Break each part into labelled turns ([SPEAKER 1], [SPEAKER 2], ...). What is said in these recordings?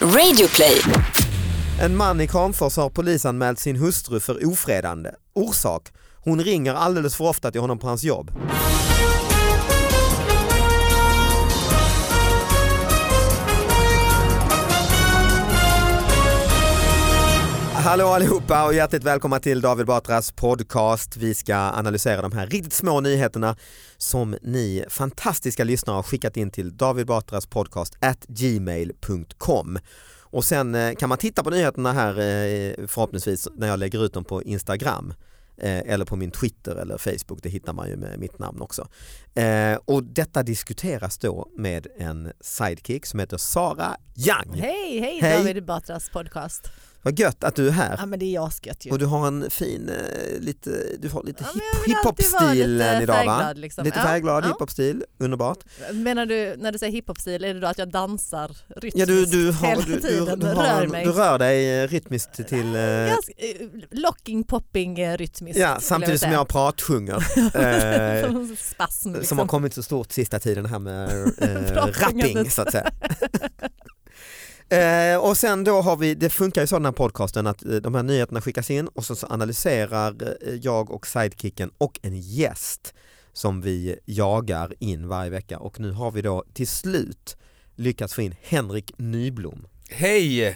[SPEAKER 1] Radioplay.
[SPEAKER 2] En man i Kramfors har polisanmält sin hustru för ofredande. Orsak? Hon ringer alldeles för ofta till honom på hans jobb. Hallå allihopa och hjärtligt välkomna till David Batras podcast. Vi ska analysera de här riktigt små nyheterna som ni fantastiska lyssnare har skickat in till David Batras podcast at gmail.com. Och sen eh, kan man titta på nyheterna här eh, förhoppningsvis när jag lägger ut dem på Instagram eh, eller på min Twitter eller Facebook, det hittar man ju med mitt namn också. Eh, Och detta diskuteras då med en sidekick som heter Sara Young.
[SPEAKER 3] Hej, hej,
[SPEAKER 2] Hej.
[SPEAKER 3] David Batras podcast.
[SPEAKER 2] Vad gött att du är här.
[SPEAKER 3] Ja men det är jag skött ju.
[SPEAKER 2] Och du har en fin, eh, lite, du har lite
[SPEAKER 3] Ja, men
[SPEAKER 2] hip,
[SPEAKER 3] jag vill alltid vara
[SPEAKER 2] hiphop-stilen
[SPEAKER 3] lite
[SPEAKER 2] idag va?
[SPEAKER 3] färgglad, liksom.
[SPEAKER 2] Lite
[SPEAKER 3] Ja,
[SPEAKER 2] färgglad,
[SPEAKER 3] ja.
[SPEAKER 2] hiphop-stil, underbart.
[SPEAKER 3] Menar du när du säger hiphop-stil, är det då att jag dansar rytmiskt
[SPEAKER 2] Ja, du, du, har,
[SPEAKER 3] hela
[SPEAKER 2] du, du, du,
[SPEAKER 3] tiden och
[SPEAKER 2] har,
[SPEAKER 3] rör
[SPEAKER 2] en-
[SPEAKER 3] mig?
[SPEAKER 2] du rör dig eh, rytmiskt till eh,
[SPEAKER 3] Ganska, eh, locking, popping, eh, rytmiskt.
[SPEAKER 2] Ja, samtidigt som jag pratsjunger. eh,
[SPEAKER 3] som spasm liksom.
[SPEAKER 2] som har kommit så stort sista tiden här med eh, rapping
[SPEAKER 3] Pratsjungandet.
[SPEAKER 2] så att säga. Eh, och sen då har vi, det funkar ju så den här podcasten att eh, de här nyheterna skickas in och så, så analyserar eh, jag och sidekicken och en gäst som vi jagar in varje vecka och nu har vi då till slut lyckats få in Henrik Nyblom.
[SPEAKER 4] Hej!
[SPEAKER 2] Eh,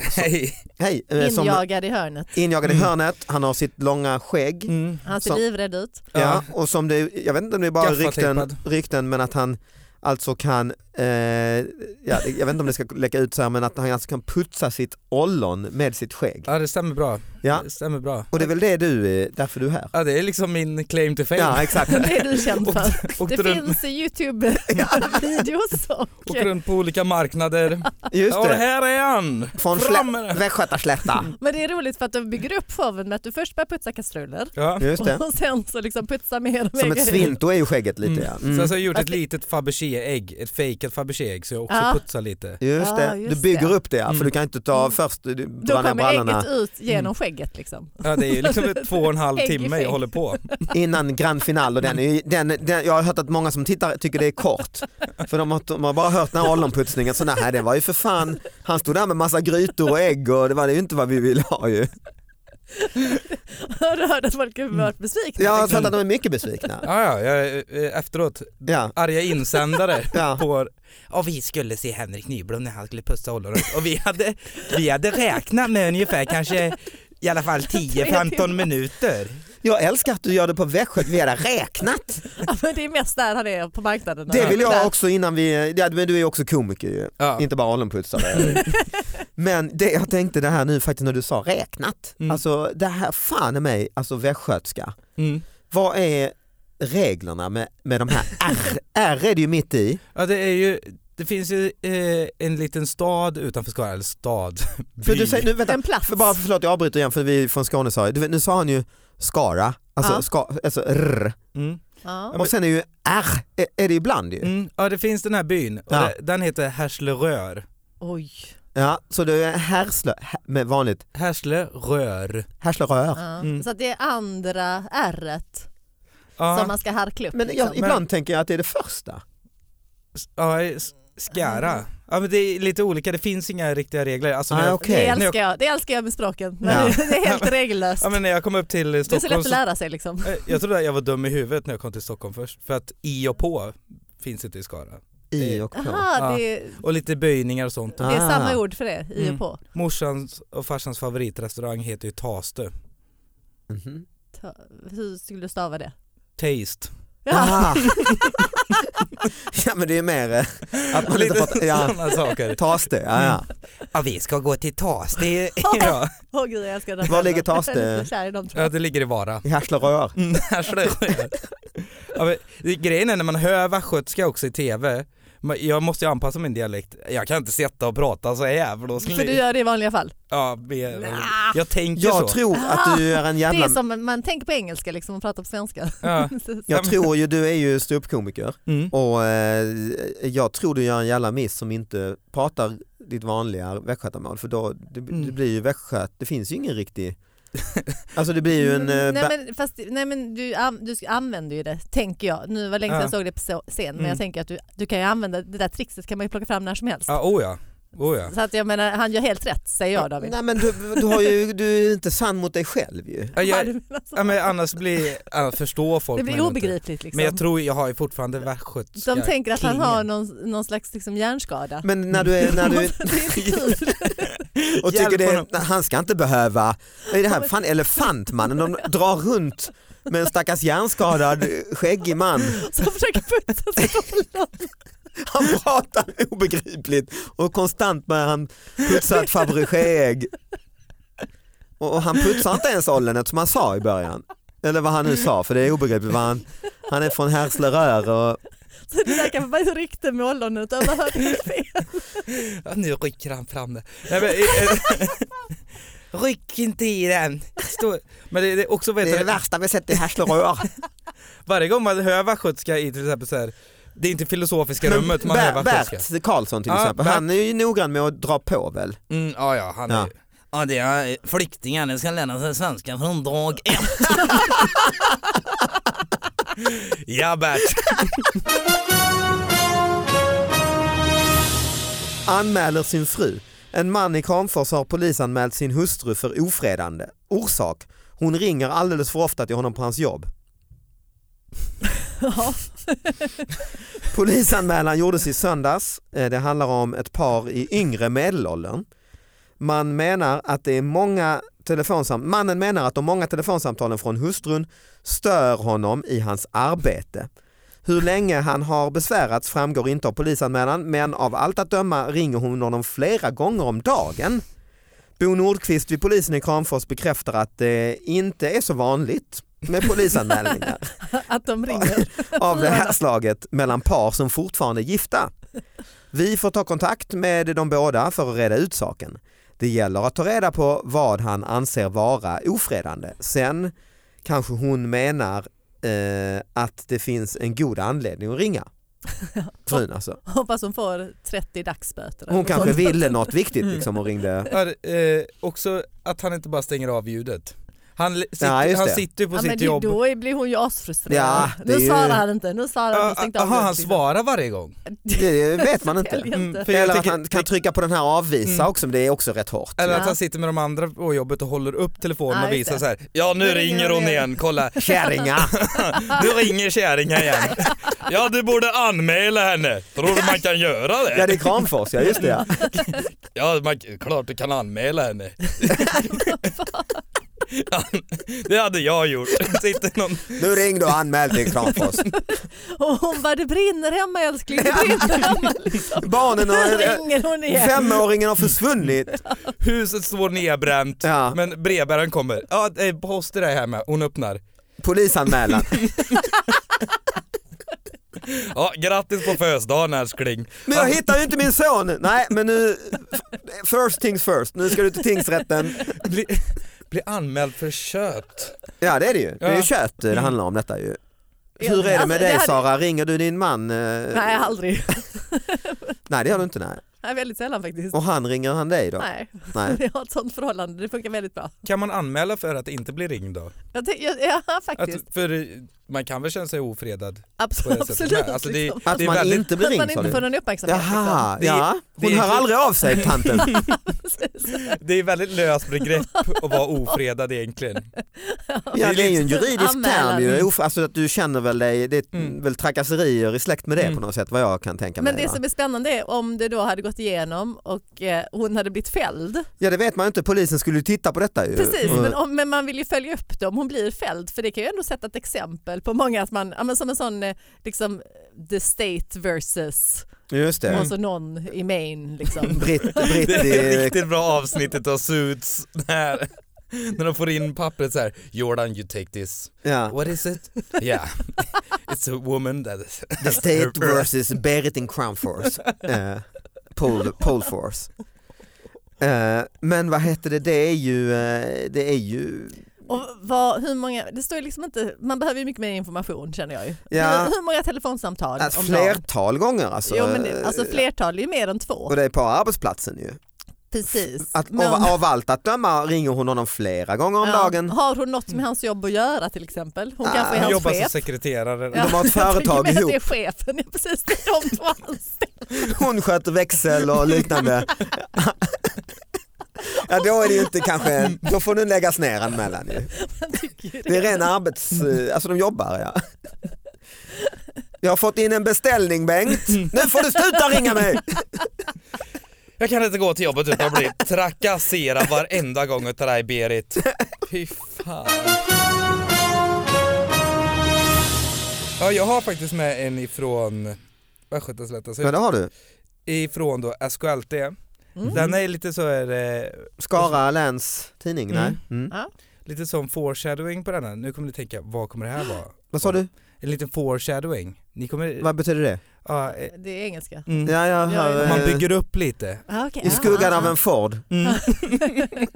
[SPEAKER 4] Hej!
[SPEAKER 2] hej! eh, som
[SPEAKER 3] Injagad i hörnet.
[SPEAKER 2] injagad i
[SPEAKER 4] Mm.
[SPEAKER 2] hörnet, han har sitt långa skägg.
[SPEAKER 3] Han ser
[SPEAKER 2] Som-
[SPEAKER 3] livrädd ut.
[SPEAKER 2] Ja,
[SPEAKER 4] Ja.
[SPEAKER 2] och som det, jag vet inte om det är bara rykten,
[SPEAKER 4] Gaffatejpad.
[SPEAKER 2] rykten men att han alltså kan, eh, ja, jag vet inte om det ska läcka ut så här, men att han alltså kan putsa sitt ollon med sitt skägg.
[SPEAKER 4] Ja det stämmer bra.
[SPEAKER 2] Ja,
[SPEAKER 4] Det stämmer bra.
[SPEAKER 2] och det är väl det du, eh, därför du är här.
[SPEAKER 4] Ja det är liksom min claim to fame.
[SPEAKER 2] Ja, exakt.
[SPEAKER 3] Det är du känd
[SPEAKER 4] Och-
[SPEAKER 3] för.
[SPEAKER 4] Åkte,
[SPEAKER 3] Det
[SPEAKER 4] runt,
[SPEAKER 3] finns i Youtube-videos och
[SPEAKER 4] åkte runt på olika marknader.
[SPEAKER 2] Just
[SPEAKER 4] Ja
[SPEAKER 2] det.
[SPEAKER 4] här är han!
[SPEAKER 2] Från
[SPEAKER 4] Fram
[SPEAKER 2] Slä-
[SPEAKER 4] med det!
[SPEAKER 2] Västgötaslätta.
[SPEAKER 3] Men det är roligt för att de bygger upp showen med att du först börjar putsa kastruller
[SPEAKER 4] Ja.
[SPEAKER 2] Just det.
[SPEAKER 3] och sen så liksom putsa mer och mer
[SPEAKER 2] Som ett
[SPEAKER 3] grejer.
[SPEAKER 2] svinto är ju skägget lite ja.
[SPEAKER 4] Så
[SPEAKER 2] Mm.
[SPEAKER 4] jag har gjort ett
[SPEAKER 3] Okej.
[SPEAKER 4] litet Fabergé-ägg, ett fejkat Fabergé-ägg så jag också
[SPEAKER 3] Ja.
[SPEAKER 4] putsar lite.
[SPEAKER 2] Just
[SPEAKER 3] Ah,
[SPEAKER 2] det,
[SPEAKER 3] just
[SPEAKER 2] du bygger
[SPEAKER 3] det.
[SPEAKER 2] upp det ja, för
[SPEAKER 4] Mm.
[SPEAKER 2] du kan inte ta först, du drar
[SPEAKER 3] Då
[SPEAKER 2] ner
[SPEAKER 3] kommer
[SPEAKER 2] brallorna
[SPEAKER 3] ägget ut genom
[SPEAKER 4] Mm.
[SPEAKER 3] skägget liksom.
[SPEAKER 4] Ja det är ju liksom ett två och en halv
[SPEAKER 3] Ägg i
[SPEAKER 4] timme
[SPEAKER 3] fejk.
[SPEAKER 4] jag håller på.
[SPEAKER 2] innan Grand Final och den, är ju- den, den, jag har hört att många som tittar tycker det är kort. För de har, de har bara hört den här ollonputsningen, så nej det var ju för fan, han stod där med massa grytor och ägg och det var ju inte vad vi ville ha ju.
[SPEAKER 3] Har du hört att folk har
[SPEAKER 2] Mm.
[SPEAKER 3] varit besvikna?
[SPEAKER 2] Jag har
[SPEAKER 3] liksom?
[SPEAKER 2] hört att de är mycket besvikna.
[SPEAKER 4] Ja ja, jag, eh, efteråt,
[SPEAKER 2] Ja,
[SPEAKER 4] arga insändare.
[SPEAKER 2] ja.
[SPEAKER 4] På, och vi skulle se Henrik Nyblom när han skulle pussa ollonet och vi hade, vi hade räknat med ungefär kanske i alla fall 10-15 minuter.
[SPEAKER 2] Jag älskar att du gör det på Västgöt, vi hade räknat.
[SPEAKER 3] Ja, men det är mest där han är på marknaden.
[SPEAKER 2] Det vill jag
[SPEAKER 3] Där.
[SPEAKER 2] också innan vi, ja, men du är också komiker ju,
[SPEAKER 4] Ja.
[SPEAKER 2] inte bara ollonputsare. Men det jag tänkte det här nu faktiskt när du sa räknat,
[SPEAKER 4] Mm.
[SPEAKER 2] alltså det här fan är mig, alltså västgötska.
[SPEAKER 4] Mm.
[SPEAKER 2] Vad är reglerna med, med de här R? R är det ju mitt i.
[SPEAKER 4] Ja det är ju, det finns ju eh, en liten stad utanför Skara, eller stad,
[SPEAKER 2] För
[SPEAKER 4] by.
[SPEAKER 2] du säger, nu, vänta,
[SPEAKER 3] En plats.
[SPEAKER 2] för bara, förlåt jag avbryter igen för vi är från Skåne sa jag. Du vet, Nu sa han ju Skara, alltså,
[SPEAKER 3] Ja.
[SPEAKER 2] ska, alltså R.
[SPEAKER 4] Mm.
[SPEAKER 3] Ja.
[SPEAKER 2] Och sen är ju R, är, är det ibland ju.
[SPEAKER 4] Mm. Ja det finns den här byn, och
[SPEAKER 2] Ja.
[SPEAKER 4] det- den heter Härslerör.
[SPEAKER 3] Oj.
[SPEAKER 2] Ja, så det är härslö, hä- med vanligt
[SPEAKER 4] Härslerör.
[SPEAKER 2] härslerör.
[SPEAKER 3] Ja.
[SPEAKER 4] Mm.
[SPEAKER 3] Så att det är andra ärret som
[SPEAKER 4] Ja,
[SPEAKER 3] man ska harkla upp.
[SPEAKER 2] Men jag,
[SPEAKER 3] liksom.
[SPEAKER 2] ibland tänker jag att det är det första.
[SPEAKER 4] ja s-
[SPEAKER 2] Mm.
[SPEAKER 4] Skara. Ja men det är lite olika, det finns inga riktiga regler. Alltså, när
[SPEAKER 2] Ah,
[SPEAKER 4] jag,
[SPEAKER 3] det,
[SPEAKER 2] okej.
[SPEAKER 3] älskar jag. det älskar jag med språken. Men
[SPEAKER 2] Ja.
[SPEAKER 3] Det är helt regellöst.
[SPEAKER 4] ja, men när jag kom upp till
[SPEAKER 3] det är så
[SPEAKER 4] Stockholm
[SPEAKER 3] lätt att lära sig liksom.
[SPEAKER 4] eh, jag trodde att jag var dum i huvudet när jag kom till Stockholm först, för att i och på finns inte i Skara.
[SPEAKER 2] I och på.
[SPEAKER 3] Aha,
[SPEAKER 4] Ja.
[SPEAKER 3] det, är-
[SPEAKER 4] Och lite böjningar och sånt.
[SPEAKER 3] det är
[SPEAKER 2] Ah. Mm.
[SPEAKER 3] samma ord för det, i och på.
[SPEAKER 4] Morsans och farsans favoritrestaurang heter ju Taste.
[SPEAKER 2] Mhm.
[SPEAKER 3] Ta, hur skulle du stava det?
[SPEAKER 4] Taste.
[SPEAKER 3] Ja.
[SPEAKER 2] Ah. ja men det är mer eh, att man inte
[SPEAKER 4] Lite
[SPEAKER 2] pratar, ja,
[SPEAKER 4] sådana saker.
[SPEAKER 2] tas det. Ja, ja.
[SPEAKER 3] Mm.
[SPEAKER 4] Ja vi ska gå till Tas, det är... ja.
[SPEAKER 3] Åh gud jag älskar den.
[SPEAKER 2] Var ligger Taste?
[SPEAKER 3] Jag är lite kär i dem tror
[SPEAKER 4] ja
[SPEAKER 3] jag.
[SPEAKER 4] det ligger i Vara.
[SPEAKER 2] I Härslerör.
[SPEAKER 4] Mm, här står det. ja, men, det- grejen är när man hör västgötska också i TV, man- jag måste ju anpassa min dialekt. Jag kan inte sitta och prata så här för då skulle
[SPEAKER 3] För du gör det i vanliga fall?
[SPEAKER 4] ja, mer,
[SPEAKER 3] Nja.
[SPEAKER 4] Jag tänker
[SPEAKER 2] Jag
[SPEAKER 4] så.
[SPEAKER 2] tror att du är en
[SPEAKER 3] Det
[SPEAKER 2] jävla
[SPEAKER 3] är som man tänker på engelska liksom och pratar på svenska.
[SPEAKER 4] Ja.
[SPEAKER 2] Jag tror ju, du är ju ståuppkomiker
[SPEAKER 4] Mm.
[SPEAKER 2] och eh, jag tror du gör en jävla miss som inte pratar ditt vanliga västgötamål för då det, det
[SPEAKER 4] Mm.
[SPEAKER 2] blir ju västgöt, det finns ju ingen riktig, alltså det blir ju en, eh,
[SPEAKER 3] Mm, nej,
[SPEAKER 2] ba-
[SPEAKER 3] men, fast, nej men du, an- du använder ju det, tänker jag. Nu var det länge sedan
[SPEAKER 4] Ja.
[SPEAKER 3] jag såg det på så- scen, men
[SPEAKER 4] Mm.
[SPEAKER 3] jag tänker att du, du kan ju använda det där trixet kan man ju plocka fram när som helst.
[SPEAKER 4] Ja, oh ja. Oh, ja.
[SPEAKER 3] Så att jag menar, han gör helt rätt säger jag David.
[SPEAKER 2] Nej men du, du, har ju, du är inte sann mot dig själv ju.
[SPEAKER 4] Ja,
[SPEAKER 3] Ja,
[SPEAKER 4] jag,
[SPEAKER 3] du menar så.
[SPEAKER 4] ja, men annars blir, annars förstår folk
[SPEAKER 3] det
[SPEAKER 4] mig
[SPEAKER 3] blir
[SPEAKER 4] nog inte.
[SPEAKER 3] obegripligt liksom.
[SPEAKER 4] Men jag tror jag har ju fortfarande västgötska
[SPEAKER 3] De tänker att han
[SPEAKER 4] klingor.
[SPEAKER 3] har någon, någon slags liksom hjärnskada.
[SPEAKER 2] Men när du är, när du,
[SPEAKER 3] det är inte kul.
[SPEAKER 2] och tycker
[SPEAKER 4] Hjälp
[SPEAKER 2] det är,
[SPEAKER 4] honom.
[SPEAKER 2] nej, han ska inte behöva, vad är det här fan elefantmannen, de drar runt med en stackars hjärnskadad skäggig man.
[SPEAKER 3] Så han försöker putsa sig på någon.
[SPEAKER 2] Han pratar obegripligt och konstant börjar han putsa ett Fabergé-ägg. Och, och han putsar inte ens ollenet som han sa i början. Eller vad han nu sa för det är obegripligt. vad Han, han är från Härslerör och
[SPEAKER 3] Så det där kanske bara är rykte med ollonet. Jag bara hörde det fel.
[SPEAKER 4] Ja, nu rycker han fram det. Nej, men, eh, eh, ryck inte i den. Stå. Men det, det är också vet
[SPEAKER 2] det är
[SPEAKER 4] du,
[SPEAKER 2] det värsta vi sett i Härslerör.
[SPEAKER 4] varje gång man hör västgötska i till exempel så här, det är inte filosofiska rummet man hör
[SPEAKER 2] Ber-
[SPEAKER 4] västgötska.
[SPEAKER 2] Bert Karlsson till
[SPEAKER 4] Ja,
[SPEAKER 2] exempel,
[SPEAKER 4] Bert-
[SPEAKER 2] han är ju noggrann med att dra på väl?
[SPEAKER 4] Mm, ja, ja, han
[SPEAKER 2] Ja.
[SPEAKER 4] är Ja det är eh, flyktingar, de ska lära sig svenska från dag ett. ja Bert.
[SPEAKER 2] Anmäler sin fru. En man i Kramfors har polisanmält sin hustru för ofredande. Orsak? Hon ringer alldeles för ofta till honom på hans jobb.
[SPEAKER 3] Ja.
[SPEAKER 2] Polisanmälan gjordes i söndags. Eh, Det handlar om ett par i yngre medelåldern. Man menar att det är många telefonsam- Mannen menar att de många telefonsamtalen från hustrun stör honom i hans arbete. Hur länge han har besvärats framgår inte av polisanmälan men av allt att döma ringer hon honom flera gånger om dagen. Bo Nordqvist vid polisen i Kramfors bekräftar att det inte är så vanligt med polisanmälningar
[SPEAKER 3] Att de ringer.
[SPEAKER 2] av det här slaget mellan par som fortfarande är gifta. Vi får ta kontakt med de båda för att reda ut saken. Det gäller att ta reda på vad han anser vara ofredande. Sen kanske hon menar eh, att det finns en god anledning att ringa. Frun alltså.
[SPEAKER 3] Hoppas hon får 30 dagsböter.
[SPEAKER 2] Hon kanske ville något viktigt liksom och ringde.
[SPEAKER 4] Har, eh, också att han inte bara stänger av ljudet. Han, li- sitter,
[SPEAKER 2] Ja, just
[SPEAKER 4] han
[SPEAKER 2] det.
[SPEAKER 4] sitter ju på
[SPEAKER 3] ja, men
[SPEAKER 4] sitt
[SPEAKER 3] det,
[SPEAKER 4] jobb.
[SPEAKER 3] Då är- blir hon ju asfrustrerad.
[SPEAKER 2] Ja, det är
[SPEAKER 3] nu
[SPEAKER 2] ju-
[SPEAKER 3] svarar han inte. Nu svarar han
[SPEAKER 4] Ah,
[SPEAKER 3] och stängt
[SPEAKER 4] ah,
[SPEAKER 3] av
[SPEAKER 4] Aha, han
[SPEAKER 3] ljudet.
[SPEAKER 4] svarar varje gång.
[SPEAKER 2] Det vet man inte.
[SPEAKER 3] Säljer inte.
[SPEAKER 4] Mm, för jag Mm.
[SPEAKER 2] Eller att
[SPEAKER 4] tänker-
[SPEAKER 2] han kan trycka på den här avvisa också, men det är också rätt hårt.
[SPEAKER 4] Eller
[SPEAKER 3] Ja.
[SPEAKER 4] att han sitter med de andra på jobbet och håller upp telefonen
[SPEAKER 3] Ja,
[SPEAKER 4] och
[SPEAKER 3] just
[SPEAKER 4] visar
[SPEAKER 3] det.
[SPEAKER 4] så här. Ja nu
[SPEAKER 3] Nu
[SPEAKER 4] ringer
[SPEAKER 3] ringer
[SPEAKER 4] hon
[SPEAKER 3] hon
[SPEAKER 4] igen, kolla.
[SPEAKER 2] Kärringar!
[SPEAKER 4] Nu ringer kärringen igen. Ja du borde anmäla henne. Tror du man kan göra
[SPEAKER 2] Ja
[SPEAKER 4] det?
[SPEAKER 2] det är Kramfors, ja just det ja.
[SPEAKER 4] Ja man, klart du kan anmäla henne. Ja, det hade jag gjort. Sitter någon...
[SPEAKER 2] Nu ringde och anmäl till Kramfors.
[SPEAKER 3] Och hon bara, det brinner hemma älskling. Det brinner hemma.
[SPEAKER 2] Barnen
[SPEAKER 3] Nu
[SPEAKER 2] har,
[SPEAKER 3] ringer hon igen.
[SPEAKER 2] femåringen har försvunnit.
[SPEAKER 4] Huset står nedbränt.
[SPEAKER 2] Ja,
[SPEAKER 4] Men brevbäraren kommer. Ja, det är poster är hemma. Hon öppnar.
[SPEAKER 2] polisanmälan.
[SPEAKER 4] Ja, grattis på födelsedagen älskling.
[SPEAKER 2] Men jag hittar ju inte min son. Nej men nu, first things first, nu ska du till tingsrätten.
[SPEAKER 4] Bli, bli anmäld för kött.
[SPEAKER 2] Ja det är det ju, det är ju
[SPEAKER 4] Ja. Mm.
[SPEAKER 2] kött det handlar om detta ju. Hur är det
[SPEAKER 3] Alltså,
[SPEAKER 2] med
[SPEAKER 3] det
[SPEAKER 2] dig
[SPEAKER 3] hade-
[SPEAKER 2] Sara, ringer du din man? eh,
[SPEAKER 3] Nej, aldrig.
[SPEAKER 2] Nej det gör du inte nej.
[SPEAKER 3] Nej, väldigt sällan faktiskt.
[SPEAKER 2] Och han ringer han dig då?
[SPEAKER 3] Nej,
[SPEAKER 2] Nej.
[SPEAKER 3] vi har ett sånt förhållande. Det funkar väldigt bra.
[SPEAKER 4] Kan man anmäla för att inte bli ringd då?
[SPEAKER 3] Jag tänk, jag, ja,
[SPEAKER 4] Att,
[SPEAKER 3] faktiskt.
[SPEAKER 4] för man kan väl känna sig ofredad? på det
[SPEAKER 3] Absolut.
[SPEAKER 4] sättet
[SPEAKER 3] absolut
[SPEAKER 4] med. Alltså, det-
[SPEAKER 3] liksom.
[SPEAKER 2] Att
[SPEAKER 4] Det är
[SPEAKER 2] man
[SPEAKER 4] väldigt-
[SPEAKER 2] inte blir
[SPEAKER 3] Att man
[SPEAKER 2] ringd sa
[SPEAKER 3] inte får
[SPEAKER 2] du?
[SPEAKER 3] någon uppmärksamhet.
[SPEAKER 2] Jaha,
[SPEAKER 4] Det är-
[SPEAKER 2] ja.
[SPEAKER 4] det är
[SPEAKER 2] Hon hör
[SPEAKER 4] ju-
[SPEAKER 2] aldrig av sig tanten.
[SPEAKER 3] liksom.
[SPEAKER 4] Det är väldigt löst begrepp att vara ofredad egentligen.
[SPEAKER 2] Ja, det är ju en juridisk term
[SPEAKER 3] Anmälan.
[SPEAKER 2] ju. Of- Alltså att du känner väl dig, det är
[SPEAKER 4] Mm.
[SPEAKER 2] väl trakasserier i släkt med det
[SPEAKER 4] Mm.
[SPEAKER 2] på något sätt vad jag kan tänka mig.
[SPEAKER 3] Men det
[SPEAKER 2] va?
[SPEAKER 3] som är spännande är om det då hade gått igenom och eh, hon hade blivit fälld.
[SPEAKER 2] Ja det vet man ju inte, polisen skulle ju titta på detta ju. Mm.
[SPEAKER 3] Precis,
[SPEAKER 2] Och-
[SPEAKER 3] men, om, men man vill ju följa upp det om hon blir fälld för det kan ju ändå sätta ett exempel på många att man, ja, men som en sån eh, liksom the state versus
[SPEAKER 2] Just det.
[SPEAKER 3] och så någon i Maine liksom.
[SPEAKER 2] Britt,
[SPEAKER 4] Det
[SPEAKER 2] Britt eh,
[SPEAKER 4] är ett
[SPEAKER 2] i,
[SPEAKER 4] riktigt bra avsnittet av Suits. När, när de får in pappret så här. Jordan you take this.
[SPEAKER 2] ja,
[SPEAKER 4] What is it? Yeah. It's a woman that is...
[SPEAKER 2] The State versus Berit in Crown Force. Eh, pole, pole Force. Eh, men vad heter det, det är ju, eh, det är ju,
[SPEAKER 3] Och vad, hur många, det står ju liksom inte, man behöver ju mycket mer information känner jag ju.
[SPEAKER 2] Ja.
[SPEAKER 3] Hur, hur många telefonsamtal
[SPEAKER 2] alltså,
[SPEAKER 3] om dagen?
[SPEAKER 2] flertal gånger alltså.
[SPEAKER 3] Jo men det, alltså flertal är ju mer än två.
[SPEAKER 2] Och det är på arbetsplatsen ju.
[SPEAKER 3] Precis.
[SPEAKER 2] Att,
[SPEAKER 3] Men-
[SPEAKER 2] av, av allt att döma ringer hon honom flera gånger om
[SPEAKER 3] Ja.
[SPEAKER 2] dagen.
[SPEAKER 3] Har hon något med hans jobb att göra till exempel? Hon
[SPEAKER 2] Ah,
[SPEAKER 3] kanske är
[SPEAKER 4] Hon
[SPEAKER 3] hans
[SPEAKER 4] jobbar som
[SPEAKER 3] chef.
[SPEAKER 4] sekreterare.
[SPEAKER 2] De har ett
[SPEAKER 3] jag tänker
[SPEAKER 2] företag
[SPEAKER 3] mig att
[SPEAKER 2] ihop.
[SPEAKER 3] Det är chefen, ja, precis. Det är de två anställda.
[SPEAKER 2] Hon sköter växel och liknande. Ja då är det ju inte kanske, då får den läggas ner anmälan ju.
[SPEAKER 3] Jag tycker ju
[SPEAKER 2] Det är ren arbets, eh, alltså de jobbar ja. Jag har fått in en beställning Bengt, nu får du sluta ringa mig!
[SPEAKER 4] Jag kan inte gå till jobbet utan att bli trakasserad varenda gång utav dig Berit. Fy fan. Ja, jag har faktiskt med en ifrån Västgötaslätten, så
[SPEAKER 2] Ja det har du.
[SPEAKER 4] ifrån då SKLT.
[SPEAKER 3] Mm.
[SPEAKER 4] Den är lite så här, eh,
[SPEAKER 2] Skara läns tidning, nej. Mm.
[SPEAKER 4] lite som foreshadowing på den här. Nu kommer ni tänka, vad kommer det här vara?
[SPEAKER 2] Vad sa du?
[SPEAKER 4] En liten foreshadowing. Ni kommer,
[SPEAKER 2] Vad betyder det?
[SPEAKER 4] ja, eh,
[SPEAKER 3] Det är engelska.
[SPEAKER 4] mm.
[SPEAKER 2] Ja, jag hör,
[SPEAKER 3] Ja,
[SPEAKER 2] eh,
[SPEAKER 4] Man bygger upp lite.
[SPEAKER 3] Ah, okay.
[SPEAKER 2] I skuggan av en Ford.
[SPEAKER 4] Mm.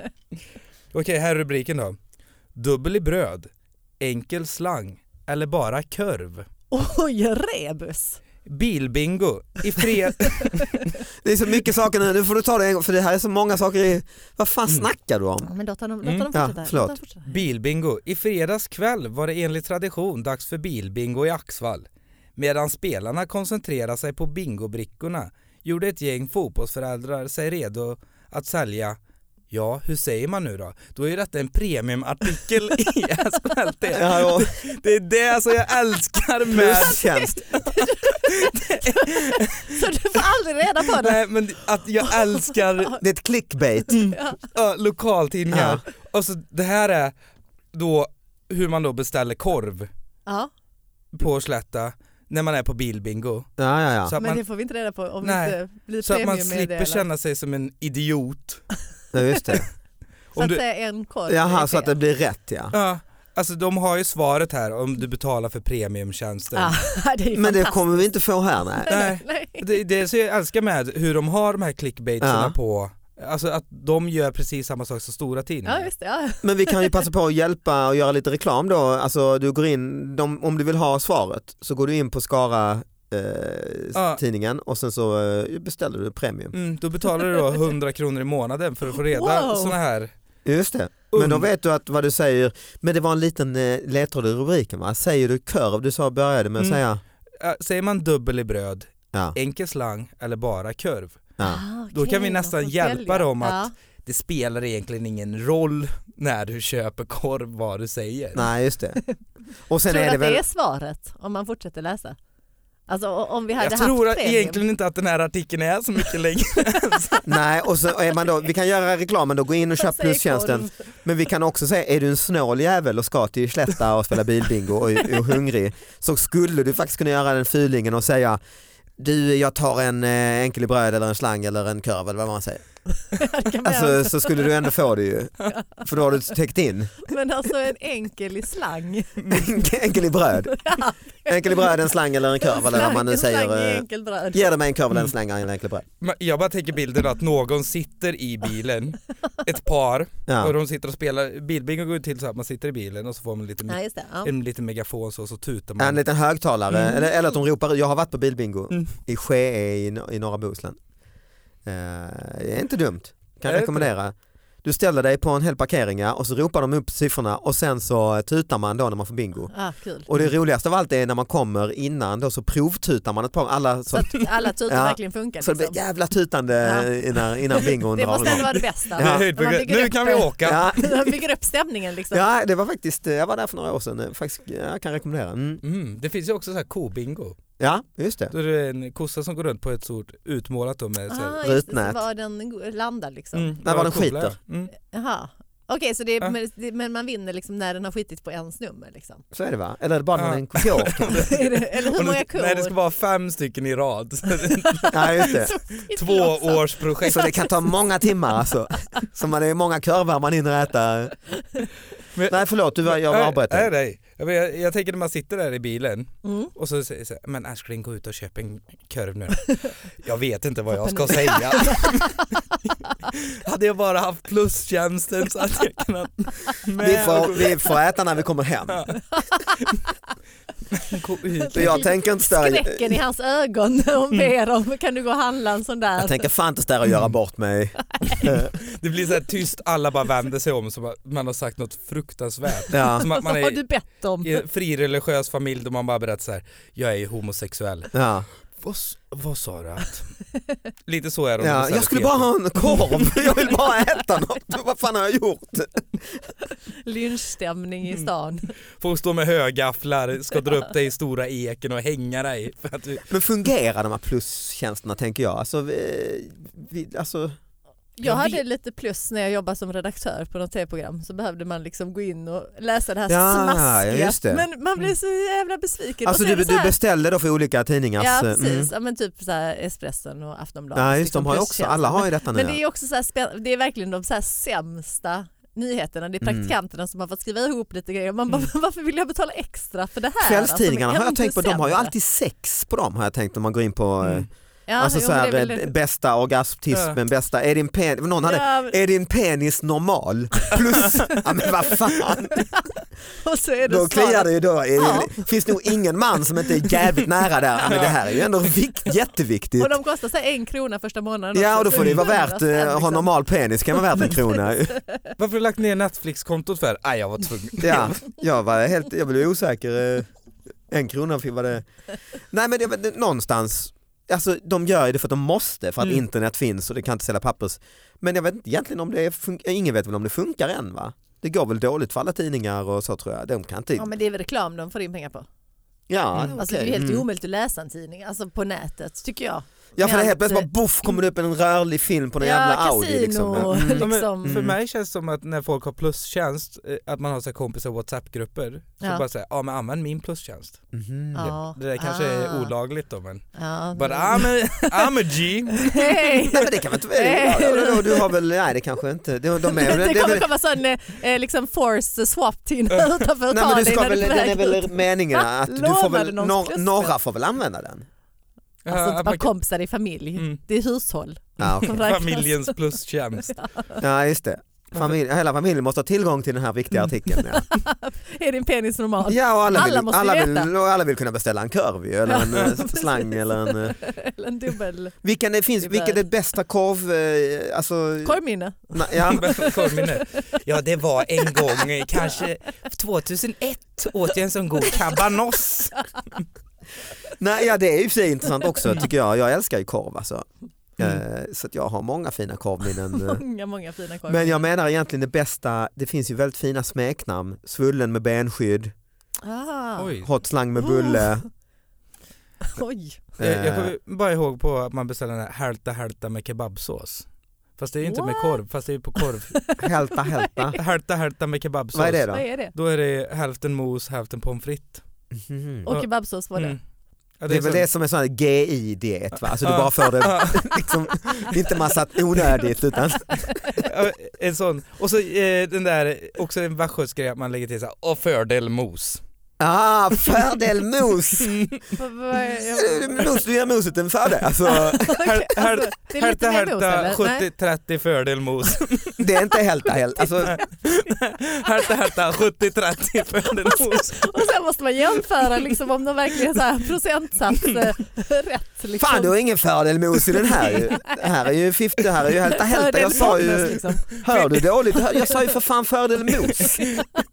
[SPEAKER 4] Okej, här är rubriken då. Dubbel i bröd, enkel slang eller bara kurv.
[SPEAKER 3] Oj, rebus.
[SPEAKER 4] Bilbingo. I fred...
[SPEAKER 2] Det är så mycket saker nu, nu får du ta det en gång för det här är så många saker i... Vad fan
[SPEAKER 4] Mm.
[SPEAKER 2] snackar du om?
[SPEAKER 3] Ja, Men låt honom, låt
[SPEAKER 4] Mm.
[SPEAKER 3] honom
[SPEAKER 2] Ja,
[SPEAKER 3] fortsätta. Låt
[SPEAKER 2] förlåt.
[SPEAKER 3] honom fortsätta.
[SPEAKER 4] Bilbingo. I fredags kväll var det enligt tradition dags för bilbingo i Axvall. Medan spelarna koncentrerade sig på bingobrickorna gjorde ett gäng fotbollsföräldrar sig redo att sälja Ja, hur säger man nu då? Då är ju detta en premiumartikel i SKLT.
[SPEAKER 2] Ja, ja.
[SPEAKER 4] Det är det som jag älskar med
[SPEAKER 2] Plustjänst.
[SPEAKER 3] Så du får aldrig reda på det.
[SPEAKER 4] Nej men att jag älskar
[SPEAKER 2] Det är ett clickbait.
[SPEAKER 4] ja, lokaltidningar. Alltså det här är då hur man då beställer korv
[SPEAKER 3] Ja,
[SPEAKER 4] på Slätta när man är på bilbingo.
[SPEAKER 2] Ja, ja, Mm. ja.
[SPEAKER 4] Så att
[SPEAKER 3] men
[SPEAKER 4] man,
[SPEAKER 3] det får vi inte reda på om
[SPEAKER 4] Nej,
[SPEAKER 3] det inte blir
[SPEAKER 4] så att man slipper
[SPEAKER 3] premiummeddelat.
[SPEAKER 4] känna sig som en idiot.
[SPEAKER 2] ja just det.
[SPEAKER 3] Så
[SPEAKER 4] Om
[SPEAKER 3] att
[SPEAKER 4] du,
[SPEAKER 3] säga en korv.
[SPEAKER 2] Jaha,
[SPEAKER 3] är
[SPEAKER 2] så att
[SPEAKER 3] fel.
[SPEAKER 2] det blir rätt ja.
[SPEAKER 4] ja, alltså de har ju svaret här om du betalar för premiumtjänsten.
[SPEAKER 3] Ah, det är ju
[SPEAKER 2] Men det
[SPEAKER 3] fantastiskt.
[SPEAKER 2] kommer vi inte få här nej.
[SPEAKER 4] Nej.
[SPEAKER 3] Nej.
[SPEAKER 4] Det, det är så jag älskar med hur de har de här clickbaitserna
[SPEAKER 2] Ja.
[SPEAKER 4] på, alltså att de gör precis samma sak som stora
[SPEAKER 3] Ja,
[SPEAKER 4] tidningar.
[SPEAKER 3] just det. Ja.
[SPEAKER 2] Men vi kan ju passa på att hjälpa och göra lite reklam då. Alltså, du går in, de, om du vill ha svaret så går du in på Skara eh,
[SPEAKER 4] Ja.
[SPEAKER 2] tidningen och sen så eh, beställer du premium.
[SPEAKER 4] Mm, då betalar du då 100 kronor i månaden för att få reda
[SPEAKER 3] Wow.
[SPEAKER 4] såna här
[SPEAKER 2] Just det. Men då
[SPEAKER 4] Und-
[SPEAKER 2] vet du att vad du säger, men det var en liten eh, ledtråd i rubriken va? Säger du kurv, du sa började med att
[SPEAKER 4] Mm.
[SPEAKER 2] säga.
[SPEAKER 4] Äh, Säger man dubbel i bröd,
[SPEAKER 2] Ja,
[SPEAKER 4] enkel slang eller bara kurv?
[SPEAKER 2] ja.
[SPEAKER 3] Ah,
[SPEAKER 4] Då
[SPEAKER 3] okej,
[SPEAKER 4] kan vi
[SPEAKER 3] de
[SPEAKER 4] nästan
[SPEAKER 3] får
[SPEAKER 4] hjälpa
[SPEAKER 3] välja.
[SPEAKER 4] dem att-
[SPEAKER 3] Ja.
[SPEAKER 4] Det spelar egentligen ingen roll när du köper korv vad du säger.
[SPEAKER 2] Nej just det. Och sen
[SPEAKER 3] Tror du
[SPEAKER 2] är det
[SPEAKER 3] att
[SPEAKER 2] väl,
[SPEAKER 3] det är svaret om man fortsätter läsa? Alltså o- om vi hade
[SPEAKER 4] Jag
[SPEAKER 3] haft
[SPEAKER 4] tror att
[SPEAKER 3] premium.
[SPEAKER 4] egentligen inte att den här artikeln är så mycket längre.
[SPEAKER 2] nej och så är man då, vi kan göra reklamen då, gå in och köp
[SPEAKER 3] Jag säger
[SPEAKER 2] plustjänsten.
[SPEAKER 3] korv.
[SPEAKER 2] Men vi kan också säga, är du en snål jävel och ska till Slätta och spela bilbingo och är hungrig så skulle du faktiskt kunna göra den fulingen och säga du jag tar en eh, enkel i bröd eller en slang eller en kurv eller vad man säger.
[SPEAKER 3] Det kan man göra.
[SPEAKER 2] Alltså, så skulle du ändå få det ju. För då har du täckt in.
[SPEAKER 3] Men alltså en enkel i slang.
[SPEAKER 2] Enkel i bröd.
[SPEAKER 3] Ja,
[SPEAKER 2] Mm. Enkel i bröd, en slang eller en kurv eller vad man nu
[SPEAKER 3] en slang
[SPEAKER 2] säger.
[SPEAKER 3] i
[SPEAKER 2] eh,
[SPEAKER 3] enkel bröd.
[SPEAKER 2] Ge dig mig en kurv eller en slang eller en enkel bröd.
[SPEAKER 4] Men Jag bara tänker bilden att någon sitter i bilen, ett par, och
[SPEAKER 2] Ja.
[SPEAKER 4] de sitter och spelar, bilbingo går ju till så att man sitter i bilen och så får man lite,
[SPEAKER 3] Ja, just det. Ja.
[SPEAKER 2] Mm.
[SPEAKER 4] en liten megafon så, så tutar
[SPEAKER 2] En
[SPEAKER 4] man.
[SPEAKER 2] liten högtalare,
[SPEAKER 4] Mm.
[SPEAKER 2] eller, eller att de ropar ut. Jag har varit på bilbingo
[SPEAKER 4] Mm.
[SPEAKER 2] i Skee i, no- i norra Bohuslän. Eh, det är inte dumt, kan
[SPEAKER 4] Är det
[SPEAKER 2] rekommendera. Du ställer dig på en hel parkering ja, och så ropar de upp siffrorna och sen så tutar man då när man får bingo.
[SPEAKER 3] Ah, kul.
[SPEAKER 2] Och det roligaste av allt är när man kommer innan då så provtutar man ett par, alla
[SPEAKER 3] Så
[SPEAKER 2] så,
[SPEAKER 3] att alla tutor
[SPEAKER 2] Ja.
[SPEAKER 3] verkligen funkar.
[SPEAKER 2] så det blir
[SPEAKER 3] Liksom.
[SPEAKER 2] jävla tutande
[SPEAKER 3] Ja.
[SPEAKER 2] innan, innan bingon
[SPEAKER 3] Det
[SPEAKER 2] drar
[SPEAKER 3] måste ändå
[SPEAKER 2] igång.
[SPEAKER 3] vara det bästa.
[SPEAKER 4] Det är
[SPEAKER 2] Ja.
[SPEAKER 4] höjdpunkten.
[SPEAKER 3] Om man bygger
[SPEAKER 4] Nu
[SPEAKER 3] upp
[SPEAKER 4] kan vi
[SPEAKER 3] det.
[SPEAKER 4] åka!
[SPEAKER 2] Ja,
[SPEAKER 3] Man bygger upp stämningen liksom.
[SPEAKER 2] ja, det var faktiskt, jag var där för några år sedan, eh, faktiskt, jag kan rekommendera. Mm.
[SPEAKER 4] Mm, det finns ju också så här kobingo.
[SPEAKER 2] Ja, just det.
[SPEAKER 4] Då är det en kossa som går runt på ett stort utmålat då med så här-
[SPEAKER 3] Ah, just det, så
[SPEAKER 2] Rutnät.
[SPEAKER 3] var den go- landar liksom.
[SPEAKER 4] Mm,
[SPEAKER 2] När var den
[SPEAKER 4] coola.
[SPEAKER 2] skiter?
[SPEAKER 4] Mm.
[SPEAKER 3] Jaha. Okej, så det,
[SPEAKER 4] Ja.
[SPEAKER 3] men, det, men man vinner liksom när den har skitit på ens nummer? Liksom.
[SPEAKER 2] Så är det va? Eller är det bara när
[SPEAKER 4] Ja.
[SPEAKER 2] det är en fjår?
[SPEAKER 3] Är det- Eller hur
[SPEAKER 4] Och nu-
[SPEAKER 3] många kor?
[SPEAKER 4] Nej det ska vara fem stycken i rad.
[SPEAKER 2] Ja, just det.
[SPEAKER 4] Två års projekt.
[SPEAKER 2] Så det kan ta många timmar alltså. Så man, det är många kurvar man hinner äta.
[SPEAKER 4] Men-
[SPEAKER 2] Nej förlåt, du, var- jag avbröt
[SPEAKER 4] Nej,
[SPEAKER 2] dig.
[SPEAKER 4] nej. Jag, vet- jag, jag tänker när man sitter där i bilen
[SPEAKER 3] Mm.
[SPEAKER 4] och så säger jag så här, men älskling gå ut och köp en korv nu då." Jag vet inte vad jag ska säga. Hade jag bara haft plustjänsten så hade jag kunnat
[SPEAKER 2] Vi
[SPEAKER 4] med.
[SPEAKER 2] får, vi får äta när vi kommer hem.
[SPEAKER 4] Gå ut.
[SPEAKER 2] Så jag tänker inte störa,
[SPEAKER 3] Skräcken i hans ögon när
[SPEAKER 4] Mm.
[SPEAKER 3] hon ber om kan du gå och handla en sån där.
[SPEAKER 2] jag tänker fan inte störa och göra bort mig.
[SPEAKER 4] Det blir så här tyst, alla bara vänder sig om som att man har sagt något fruktansvärt.
[SPEAKER 2] Ja.
[SPEAKER 4] Som att
[SPEAKER 3] Vad
[SPEAKER 4] man
[SPEAKER 3] Alltså, har du
[SPEAKER 4] är
[SPEAKER 3] bett om?
[SPEAKER 4] i en frireligiös familj då man bara berättar så här, jag är ju homosexuell.
[SPEAKER 2] Ja.
[SPEAKER 4] Vad, s- vad sa du att? Lite så är de.
[SPEAKER 2] Ja,
[SPEAKER 4] så här
[SPEAKER 2] jag skulle bara
[SPEAKER 4] Peter.
[SPEAKER 2] ha en korv, jag vill bara äta något. Vad fan har jag gjort?
[SPEAKER 3] Lynchstämning
[SPEAKER 2] Mm.
[SPEAKER 3] i stan.
[SPEAKER 4] Folk står med högafflar, ska dra upp dig i stora eken och hänga dig. För att du...
[SPEAKER 2] Men fungerar de här plustjänsterna tänker jag? Alltså, vi, vi, alltså,
[SPEAKER 3] Jag,
[SPEAKER 4] Jag
[SPEAKER 3] hade
[SPEAKER 4] vet-
[SPEAKER 3] lite plus när jag jobbade som redaktör på något tv-program så behövde man liksom gå in och läsa det här
[SPEAKER 2] Ja,
[SPEAKER 3] smaskiga.
[SPEAKER 2] ja, just det. Mm.
[SPEAKER 3] Men man blev så jävla besviken.
[SPEAKER 2] alltså
[SPEAKER 3] Och så är
[SPEAKER 2] du,
[SPEAKER 3] det så
[SPEAKER 2] du
[SPEAKER 3] här-
[SPEAKER 2] beställde då för olika tidningars...
[SPEAKER 3] Ja
[SPEAKER 2] eh,
[SPEAKER 3] precis, ja, men typ så här Espressen och Aftonbladet.
[SPEAKER 2] Ja, just
[SPEAKER 3] liksom
[SPEAKER 2] de har ju också,
[SPEAKER 3] plustjänster.
[SPEAKER 2] alla har ju detta nu.
[SPEAKER 3] Men det är också så här spän- det är verkligen de så här sämsta nyheterna, det är
[SPEAKER 2] Mm.
[SPEAKER 3] praktikanterna som har fått skriva ihop lite grejer. Man bara, varför vill jag betala extra för det här?
[SPEAKER 2] Kvällstidningarna
[SPEAKER 3] Alltså,
[SPEAKER 2] har jag
[SPEAKER 3] ännu
[SPEAKER 2] tänkt på, de har ju
[SPEAKER 3] sämre.
[SPEAKER 2] alltid sex på dem har jag tänkt om man går in på eh,
[SPEAKER 4] Mm.
[SPEAKER 3] ja,
[SPEAKER 2] alltså,
[SPEAKER 3] jo,
[SPEAKER 2] så
[SPEAKER 3] men
[SPEAKER 2] här,
[SPEAKER 3] det är väl-
[SPEAKER 2] eh, bästa orgasmtismen,
[SPEAKER 4] Ja.
[SPEAKER 2] bästa, är din penis, någon hade,
[SPEAKER 3] Ja,
[SPEAKER 2] är din penis normal? Plus, ja men vad fan,
[SPEAKER 3] och så är det
[SPEAKER 2] då kliar
[SPEAKER 3] svaret.
[SPEAKER 2] det ju då. Är
[SPEAKER 3] Ja.
[SPEAKER 2] det finns nog ingen man som inte är jävligt nära där, ja, men det här är ju ändå vikt, jätteviktigt.
[SPEAKER 3] Och de kostar så här en krona första månaden.
[SPEAKER 2] Ja
[SPEAKER 3] också,
[SPEAKER 2] och då
[SPEAKER 3] så
[SPEAKER 2] får det ju vara
[SPEAKER 3] 100
[SPEAKER 2] värt,
[SPEAKER 3] spänn,
[SPEAKER 2] eh, ha
[SPEAKER 3] liksom.
[SPEAKER 2] normal penis kan vara värt en krona.
[SPEAKER 4] Varför har du lagt ner Netflix-kontot för? Nej, jag var tvungen.
[SPEAKER 2] Ja, jag, var helt, jag blev osäker. eh, En krona fick- var det. Nej men det, var- det, någonstans, alltså, de gör ju det för att de måste för att
[SPEAKER 4] Mm.
[SPEAKER 2] internet finns och det kan inte sälja pappers. Men jag vet inte egentligen om det är fun- ingen vet väl om det funkar än va? Det går väl dåligt för alla tidningar och så tror jag. De kan inte...
[SPEAKER 3] Ja men det är väl reklam de får in pengar på.
[SPEAKER 2] Ja,
[SPEAKER 4] Mm.
[SPEAKER 3] Alltså, det är
[SPEAKER 2] okej,
[SPEAKER 3] ju helt
[SPEAKER 2] mm.
[SPEAKER 3] omöjligt att läsa en tidning alltså på nätet tycker jag.
[SPEAKER 2] Ja för det är
[SPEAKER 3] med
[SPEAKER 2] helt plötsligt
[SPEAKER 3] allt- mm.
[SPEAKER 2] bara boff kommer det upp en rörlig film på någon jävla Audi. Liksom.
[SPEAKER 3] kasino,
[SPEAKER 2] Mm.
[SPEAKER 4] Ja, men
[SPEAKER 3] liksom.
[SPEAKER 4] För mig känns det som att när folk har plustjänst, eh, att man har så här kompisar i WhatsApp-grupper, så
[SPEAKER 3] Ja.
[SPEAKER 4] bara säger ja men använd min plustjänst.
[SPEAKER 2] Mhm.
[SPEAKER 3] Ja.
[SPEAKER 4] Det där kanske
[SPEAKER 3] Ah.
[SPEAKER 4] är olagligt då men.
[SPEAKER 3] Ja,
[SPEAKER 4] But
[SPEAKER 3] nej. Alltså,
[SPEAKER 4] I'm a, I'm a G.
[SPEAKER 3] Hej!
[SPEAKER 2] Nej men det kan väl inte vara, ja, ja, ja, du har väl, nej det kanske inte, de, de är, det
[SPEAKER 3] Det
[SPEAKER 2] är väl,
[SPEAKER 3] kommer komma sån eh, eh, liksom force swap till utanför och
[SPEAKER 2] nej,
[SPEAKER 3] ta
[SPEAKER 2] men du
[SPEAKER 3] dig
[SPEAKER 2] ska
[SPEAKER 3] när
[SPEAKER 2] väl,
[SPEAKER 3] du är
[SPEAKER 2] den
[SPEAKER 3] på
[SPEAKER 2] är
[SPEAKER 3] väg
[SPEAKER 2] väl
[SPEAKER 3] ut.
[SPEAKER 2] meningen
[SPEAKER 3] Va?
[SPEAKER 2] att du får
[SPEAKER 3] Lånade
[SPEAKER 2] väl,
[SPEAKER 3] någon
[SPEAKER 2] nor,
[SPEAKER 3] plötsligt?
[SPEAKER 2] några får väl använda den?
[SPEAKER 4] Ja,
[SPEAKER 3] Alltså inte
[SPEAKER 4] att
[SPEAKER 3] bara
[SPEAKER 4] man kan-
[SPEAKER 3] kompisar i familj,
[SPEAKER 4] Mm.
[SPEAKER 3] det är hushåll.
[SPEAKER 2] Ja, okej.
[SPEAKER 3] som räknas.
[SPEAKER 4] Familjens plustjänst.
[SPEAKER 2] ja just det. Familj, hela familjen måste ha tillgång till den här viktiga artikeln. Ja,
[SPEAKER 3] Är din penis normal?
[SPEAKER 2] ja och alla,
[SPEAKER 3] Alla
[SPEAKER 2] vill,
[SPEAKER 3] måste
[SPEAKER 2] alla,
[SPEAKER 3] veta.
[SPEAKER 2] vill, och alla vill kunna beställa en korv ju, eller en
[SPEAKER 3] Ja,
[SPEAKER 2] eh,
[SPEAKER 3] precis.
[SPEAKER 2] slang eller en... eh,
[SPEAKER 3] Eller en dubbel
[SPEAKER 2] Vilken det finns,
[SPEAKER 3] Det är
[SPEAKER 2] vilken är
[SPEAKER 3] där.
[SPEAKER 2] det bästa korv, eh, alltså...
[SPEAKER 3] korvminne?
[SPEAKER 2] na, ja,
[SPEAKER 4] Korvminne. ja det var en gång, eh, kanske 2001 åt jag en sån god kabanoss.
[SPEAKER 2] nej, ja det är ju i och för sig intressant också
[SPEAKER 3] Mm.
[SPEAKER 2] tycker jag, jag älskar ju korv alltså. Eh, Så att jag har många fina korvminnen. eh.
[SPEAKER 3] Många, många fina korvminnen.
[SPEAKER 2] Men jag menar egentligen det bästa, det finns ju väldigt fina smeknamn, svullen med benskydd,
[SPEAKER 3] Ah, oj.
[SPEAKER 4] Oj.
[SPEAKER 2] hot slang med bulle.
[SPEAKER 4] Jag, jag
[SPEAKER 2] Eh,
[SPEAKER 4] kommer bara ihåg på att man beställer den här hälta hälta med kebabsås. Fast det är ju inte med
[SPEAKER 3] What?
[SPEAKER 4] korv, fast det är ju på korv.
[SPEAKER 2] Hälta hälta.
[SPEAKER 4] Hälta hälta med kebabsås.
[SPEAKER 2] Vad är det
[SPEAKER 3] Vad
[SPEAKER 2] då?
[SPEAKER 3] är det?
[SPEAKER 4] Då är det hälften mos, hälften pommes frites.
[SPEAKER 2] Mhm.
[SPEAKER 3] Och kebabsås var det.
[SPEAKER 4] Mm. Ja,
[SPEAKER 2] Det är väl
[SPEAKER 4] så-
[SPEAKER 2] det som är sån här GI-diet va? Alltså du
[SPEAKER 4] Ja.
[SPEAKER 2] bara får det,
[SPEAKER 4] Ja,
[SPEAKER 2] liksom, inte massa onödigt utan
[SPEAKER 4] ja, en sån. Och så eh, den där, också en västgötsk att man lägger till så här, och fördel mos.
[SPEAKER 2] ah, fördel mos!
[SPEAKER 3] Vad- vad är-
[SPEAKER 2] Eh, mos du ger moset en fördel. Alltså,
[SPEAKER 4] Här- här-
[SPEAKER 3] alltså, Det är lite
[SPEAKER 4] Hälta
[SPEAKER 3] mer mos
[SPEAKER 4] hälta
[SPEAKER 3] eller? Nej.
[SPEAKER 4] 70-30 fördel mos.
[SPEAKER 2] det är inte hälta hälta. Alltså,
[SPEAKER 4] Hälta hälta 70-30 fördel mos.
[SPEAKER 3] Och sen måste man jämföra liksom, om de verkligen så här procentsats eh, rätt. Liksom.
[SPEAKER 2] fan du har ingen fördel mos i den här ju. Det här är ju 50, det här är ju hälta hälta.
[SPEAKER 3] Fördel
[SPEAKER 2] Jag sa
[SPEAKER 3] bonus,
[SPEAKER 2] ju,
[SPEAKER 3] liksom.
[SPEAKER 2] hör du dåligt? Hör- Jag sa ju för fan fördel mos.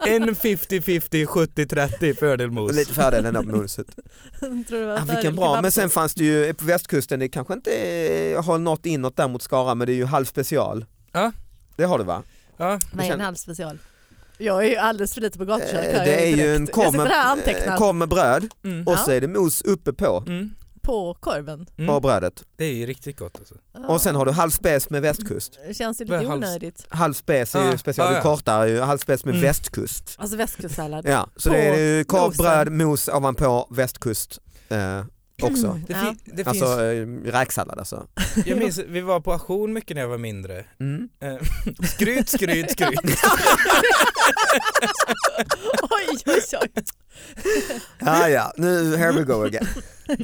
[SPEAKER 4] En 50-50 70-30 fördel mos.
[SPEAKER 2] Lite fördel ändå på moset.
[SPEAKER 3] Tror du det var
[SPEAKER 2] Ja,
[SPEAKER 3] fördel
[SPEAKER 2] vilken bra, men
[SPEAKER 3] kebabsås?
[SPEAKER 2] sen fanns det ju eh, på västkusten, det kanske inte eh, har nått inåt där mot Skara men det är ju halv special.
[SPEAKER 4] Ja.
[SPEAKER 2] Det har du va?
[SPEAKER 4] Ja.
[SPEAKER 3] Nej, en halv special. Jag är ju alldeles för lite på gatukök. hör
[SPEAKER 2] Eh,
[SPEAKER 3] jag
[SPEAKER 2] Det är ju
[SPEAKER 3] direkt.
[SPEAKER 2] en
[SPEAKER 3] Jag
[SPEAKER 2] korv
[SPEAKER 3] sitter här och
[SPEAKER 2] med, eh,
[SPEAKER 3] antecknar
[SPEAKER 2] korv med bröd
[SPEAKER 4] Mm.
[SPEAKER 2] och
[SPEAKER 3] Ja.
[SPEAKER 2] så är det mos uppe på
[SPEAKER 4] Mm.
[SPEAKER 3] på korven.
[SPEAKER 2] på
[SPEAKER 4] Mm.
[SPEAKER 2] brödet.
[SPEAKER 4] Det är ju riktigt gott alltså.
[SPEAKER 2] Och sen har du halv spes med västkust.
[SPEAKER 3] Det känns ju
[SPEAKER 4] Vad
[SPEAKER 3] lite
[SPEAKER 4] är halvs-
[SPEAKER 3] onödigt.
[SPEAKER 2] Halv spes är ju
[SPEAKER 4] Ah,
[SPEAKER 2] special,
[SPEAKER 4] ah,
[SPEAKER 2] du
[SPEAKER 4] ja.
[SPEAKER 2] kortar ju halv spes med
[SPEAKER 4] Mm.
[SPEAKER 2] västkust.
[SPEAKER 3] Alltså västkustsallad.
[SPEAKER 2] Ja, så
[SPEAKER 3] På
[SPEAKER 2] det är ju korv,
[SPEAKER 3] mosen. Mm.
[SPEAKER 2] bröd, mos ovanpå västkust eh, också.
[SPEAKER 4] Det,
[SPEAKER 3] Ja.
[SPEAKER 4] fi- det
[SPEAKER 2] Alltså eh, räksallad alltså.
[SPEAKER 4] finns, jag minns, vi var på auktion mycket när jag var mindre.
[SPEAKER 2] Mm.
[SPEAKER 4] Eh, Skryt, skryt, skryt.
[SPEAKER 3] Oj, oj, oj.
[SPEAKER 2] Ja, ja, nu here we go again.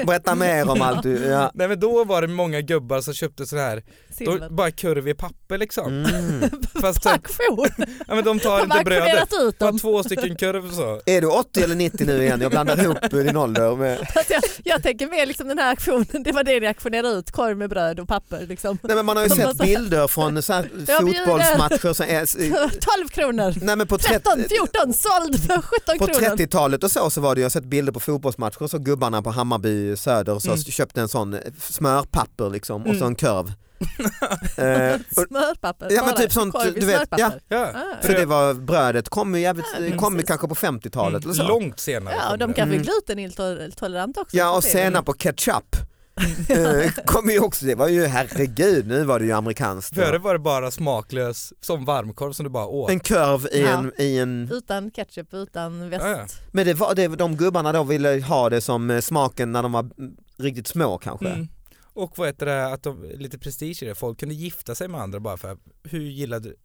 [SPEAKER 2] Berätta mer om allt du, ja.
[SPEAKER 4] Nej men då var det många gubbar som köpte så här Då
[SPEAKER 3] silver.
[SPEAKER 4] bara kurv i papper liksom.
[SPEAKER 2] Mm.
[SPEAKER 4] Fast så,
[SPEAKER 3] Passion!
[SPEAKER 4] ja, men de tar
[SPEAKER 3] De
[SPEAKER 4] inte
[SPEAKER 3] har
[SPEAKER 4] brödet.
[SPEAKER 3] ackumulerat ut
[SPEAKER 4] Bara
[SPEAKER 3] dem.
[SPEAKER 4] två stycken kurv så.
[SPEAKER 2] Är du 80 eller 90 nu igen? Jag blandar ihop din ålder med...
[SPEAKER 3] Att jag, jag tänker mer liksom den här aktionen, det var det ni auktionerade ut, korv med bröd och papper. Liksom.
[SPEAKER 2] Nej, men man har ju
[SPEAKER 3] De bara
[SPEAKER 2] sett
[SPEAKER 3] så här-
[SPEAKER 2] bilder från så här
[SPEAKER 3] Jag bjuder.
[SPEAKER 2] fotbollsmatcher som är...
[SPEAKER 3] 12 kronor,
[SPEAKER 2] Nej, men på 30
[SPEAKER 3] 13, 14, såld för 17
[SPEAKER 2] På
[SPEAKER 3] kronor.
[SPEAKER 2] 30-talet och så, så var det, jag har sett bilder på fotbollsmatcher, så gubbarna på Hammarby Söder så
[SPEAKER 4] Mm.
[SPEAKER 2] köpte en sån eh, smörpapper liksom, och
[SPEAKER 4] Mm.
[SPEAKER 2] så en kurv. eh, och,
[SPEAKER 3] Smörpapper,
[SPEAKER 2] Ja, men
[SPEAKER 3] bara
[SPEAKER 2] typ sånt,
[SPEAKER 3] korv i
[SPEAKER 2] du vet,
[SPEAKER 3] smörpapper.
[SPEAKER 4] Ja.
[SPEAKER 3] Ah.
[SPEAKER 2] för det var, brödet kom ju jävligt,
[SPEAKER 3] Ja,
[SPEAKER 2] kom ju
[SPEAKER 3] precis. Mm.
[SPEAKER 2] kanske på 50-talet eller så.
[SPEAKER 4] Mm. Långt senare
[SPEAKER 3] Ja,
[SPEAKER 4] kom
[SPEAKER 3] och de
[SPEAKER 4] det.
[SPEAKER 3] kanske är
[SPEAKER 2] Mm.
[SPEAKER 3] glutenintoleranta också.
[SPEAKER 2] Ja och
[SPEAKER 3] Det är väl-
[SPEAKER 2] senap och ketchup. eh, kom ju också, det var ju herregud, nu var det ju amerikanskt.
[SPEAKER 4] Före var det bara smaklös som varmkorv som du bara åt.
[SPEAKER 2] En kurv i
[SPEAKER 3] Ja.
[SPEAKER 2] en, i en...
[SPEAKER 3] Utan ketchup, utan väst.
[SPEAKER 4] Ja, ja.
[SPEAKER 2] Men det var, det, de gubbarna då ville ha det som eh, smaken när de var mm, riktigt små kanske.
[SPEAKER 4] Mm. Och vad heter det, att de, lite prestige i det, folk kunde gifta sig med andra bara för hur gillade du,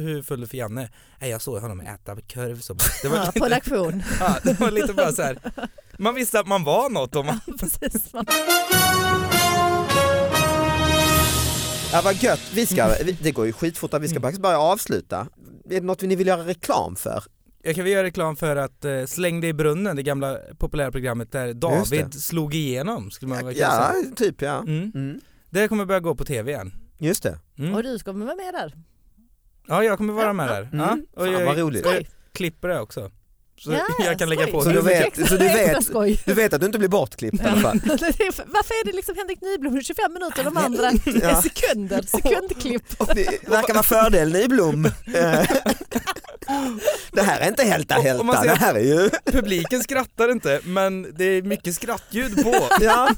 [SPEAKER 4] hur föll du för Janne? Nej jag såg honom äta korv så bara- det var,
[SPEAKER 3] Ja, på en auktion.
[SPEAKER 4] ja, det var lite bara så här. man visste att man var något om man,
[SPEAKER 3] Precis.
[SPEAKER 2] Ja vad gött, vi ska,
[SPEAKER 4] Mm.
[SPEAKER 2] vi, det går ju skitfort att vi ska faktiskt bara avsluta. Är det något ni vill göra reklam för?
[SPEAKER 4] Jag kan väl göra reklam för att eh, Släng dig i brunnen, det gamla populära programmet där David slog igenom skulle man väl kunna
[SPEAKER 2] Ja,
[SPEAKER 4] säga.
[SPEAKER 2] typ ja.
[SPEAKER 4] Mm.
[SPEAKER 2] Mm,
[SPEAKER 4] Det kommer börja gå på tv igen.
[SPEAKER 2] just det.
[SPEAKER 4] Mm. Eh,
[SPEAKER 3] Och du kommer vara med där.
[SPEAKER 4] Ja jag kommer vara med där.
[SPEAKER 2] Mm.
[SPEAKER 4] Ja, och
[SPEAKER 2] Fan,
[SPEAKER 4] jag,
[SPEAKER 2] vad roligt.
[SPEAKER 4] jag klipper det också. Så
[SPEAKER 3] Ja,
[SPEAKER 4] jag kan lägga
[SPEAKER 3] skoj.
[SPEAKER 4] på
[SPEAKER 2] Så
[SPEAKER 4] det.
[SPEAKER 2] du vet-
[SPEAKER 3] Extra-
[SPEAKER 2] så du vet-
[SPEAKER 3] extra skoj.
[SPEAKER 2] Du vet att du inte blir bortklippt i alla fall.
[SPEAKER 3] Det är för- Varför är det liksom Henrik Nyblom i 25 minuter och de andra är
[SPEAKER 2] Ja.
[SPEAKER 3] sekunder, sekundklipp?
[SPEAKER 2] Och det verkar vara fördel Nyblom. Eh, det här är inte hälta
[SPEAKER 4] Om- om man
[SPEAKER 2] hälta,
[SPEAKER 4] ser-
[SPEAKER 2] det här är ju...
[SPEAKER 4] Publiken skrattar inte men det är mycket skrattljud på.
[SPEAKER 2] Ja.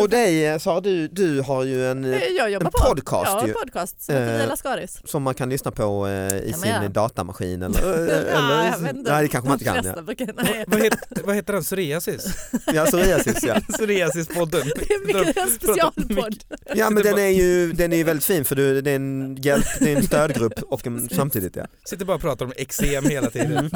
[SPEAKER 2] Och dig Sara, du, du har ju en eh,
[SPEAKER 3] Jag jobbar
[SPEAKER 2] En
[SPEAKER 3] på.
[SPEAKER 2] podcast
[SPEAKER 3] ja,
[SPEAKER 2] ju.
[SPEAKER 3] en podcast som heter
[SPEAKER 2] Eh,
[SPEAKER 3] Vila Skaris.
[SPEAKER 2] som man kan lyssna på eh, i
[SPEAKER 3] Kan man
[SPEAKER 2] sin
[SPEAKER 3] göra?
[SPEAKER 2] datamaskin eller? eh, eller
[SPEAKER 3] Nej, jag vet inte.
[SPEAKER 2] nej det kanske man inte
[SPEAKER 3] De
[SPEAKER 2] kan.
[SPEAKER 3] flesta
[SPEAKER 2] Ja,
[SPEAKER 3] brukar- nej.
[SPEAKER 4] Vad heter, vad heter den? Psoriasis?
[SPEAKER 2] ja psoriasis ja.
[SPEAKER 4] Psoriasispodden.
[SPEAKER 3] Det är mycket en specialpodd.
[SPEAKER 2] Ja men
[SPEAKER 4] Sitter
[SPEAKER 2] den
[SPEAKER 4] bara-
[SPEAKER 2] är ju den är ju väldigt fin för du, det, är en hjälp, det är en stödgrupp och en, samtidigt ja.
[SPEAKER 4] Sitter bara och pratar om eksem hela tiden.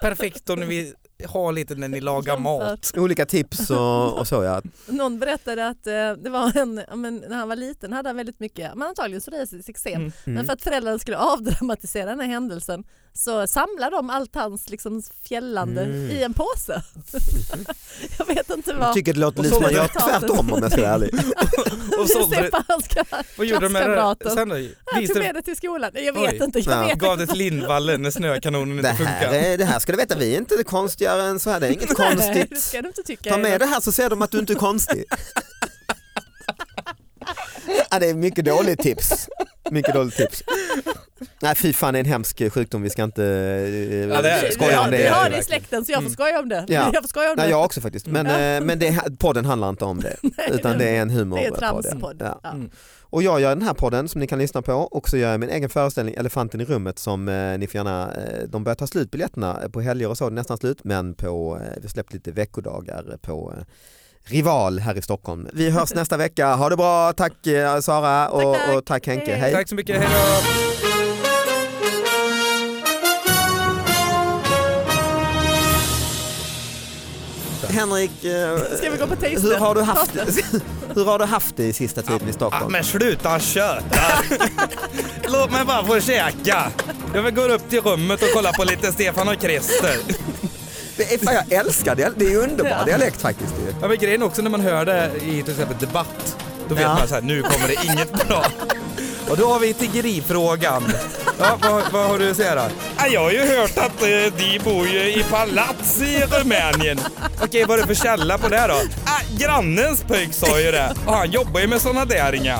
[SPEAKER 4] Perfekt om ni vill ha lite när ni lagar mat.
[SPEAKER 2] Olika tips och, och så ja.
[SPEAKER 3] Någon berättade att eh, det var en, ja, men när han var liten hade han väldigt mycket, men antagligen psoriasis, eksem.
[SPEAKER 4] Mm.
[SPEAKER 3] Men för att föräldrarna skulle avdramatisera den här händelsen så samlade de allt hans liksom fjällande
[SPEAKER 2] Mm.
[SPEAKER 3] i en påse. jag vet inte
[SPEAKER 2] Jag
[SPEAKER 3] vad.
[SPEAKER 2] tycker det låter
[SPEAKER 4] Och
[SPEAKER 2] lite som att
[SPEAKER 4] sålde
[SPEAKER 2] jag
[SPEAKER 3] resultatet.
[SPEAKER 2] tvärtom om jag ska vara ärlig.
[SPEAKER 4] Och
[SPEAKER 3] Jag
[SPEAKER 4] sålde
[SPEAKER 3] ser
[SPEAKER 4] det.
[SPEAKER 3] på hans
[SPEAKER 4] Vad gjorde de med det
[SPEAKER 3] klasskamrater.
[SPEAKER 4] sen då?
[SPEAKER 3] Han tog
[SPEAKER 4] Visste,
[SPEAKER 3] med det till skolan. Jag vet
[SPEAKER 4] Oj.
[SPEAKER 3] inte. Jag
[SPEAKER 2] Ja.
[SPEAKER 3] vet
[SPEAKER 4] gav
[SPEAKER 3] inte.
[SPEAKER 4] det till Lindvallen när snökanonen
[SPEAKER 2] Det
[SPEAKER 4] inte
[SPEAKER 2] här,
[SPEAKER 4] funkar.
[SPEAKER 2] är, det här ska du veta, vi är inte konstigare än så här, det är inget
[SPEAKER 3] Nej, det ska
[SPEAKER 2] konstigt.
[SPEAKER 3] du inte tycka.
[SPEAKER 2] Ta med det här så ser de att du inte är konstig. Ja, det är mycket dåligt tips. Mycket dåligt tips. Nej fy fan det är en hemsk sjukdom, vi ska inte
[SPEAKER 4] Ja, det är
[SPEAKER 2] eh,
[SPEAKER 4] det.
[SPEAKER 2] skoja om
[SPEAKER 3] Vi har- Vi har det
[SPEAKER 2] det.
[SPEAKER 3] i släkten så jag får
[SPEAKER 4] Mm.
[SPEAKER 3] skoja om det.
[SPEAKER 2] Ja.
[SPEAKER 3] Jag får skoja om
[SPEAKER 2] Nej,
[SPEAKER 3] det.
[SPEAKER 2] jag också faktiskt, men, eh, men det, här- podden handlar inte om det. Utan det är en
[SPEAKER 3] det är
[SPEAKER 2] humorpodd.
[SPEAKER 3] tramspodd.
[SPEAKER 2] Ja.
[SPEAKER 3] Ja.
[SPEAKER 4] Mm.
[SPEAKER 2] Och jag gör den här podden som ni kan lyssna på och så gör jag min egen föreställning Elefanten i rummet som eh, ni får gärna, eh, de börjar ta slut biljetterna eh, på helger och så, det är nästan slut men på, eh, vi har släppt lite veckodagar på eh, Rival här i Stockholm. Vi hörs nästa vecka, ha det bra, tack eh, Sara och
[SPEAKER 3] Tack, tack.
[SPEAKER 2] och tack Henke,
[SPEAKER 3] Hej.
[SPEAKER 2] hej.
[SPEAKER 4] Tack så mycket, hejdå!
[SPEAKER 2] Henrik, eh,
[SPEAKER 3] Ska vi gå på taste?
[SPEAKER 2] hur har, du haft, hur har du haft det i sista tiden i
[SPEAKER 4] Ah,
[SPEAKER 2] Stockholm?
[SPEAKER 4] men sluta köta! Låt mig bara få käka! Jag vill gå upp till rummet och kolla på lite Stefan och Krister.
[SPEAKER 2] Det är, fan, jag älskar det, det är underbar dialekt faktiskt. ju.
[SPEAKER 4] Ja men grejen är också när man hör det i till exempel debatt, då vet
[SPEAKER 2] Ja.
[SPEAKER 4] man så här, nu kommer det inget bra. Och då har vi tiggerifrågan. Ja, vad, vad har du att säga då? Ja, jag har ju hört att eh, de bor ju i palats i Rumänien. Okej, vad är det för källa på det då? Ah, grannens pojk sa ju det och han jobbar ju med såna där inga.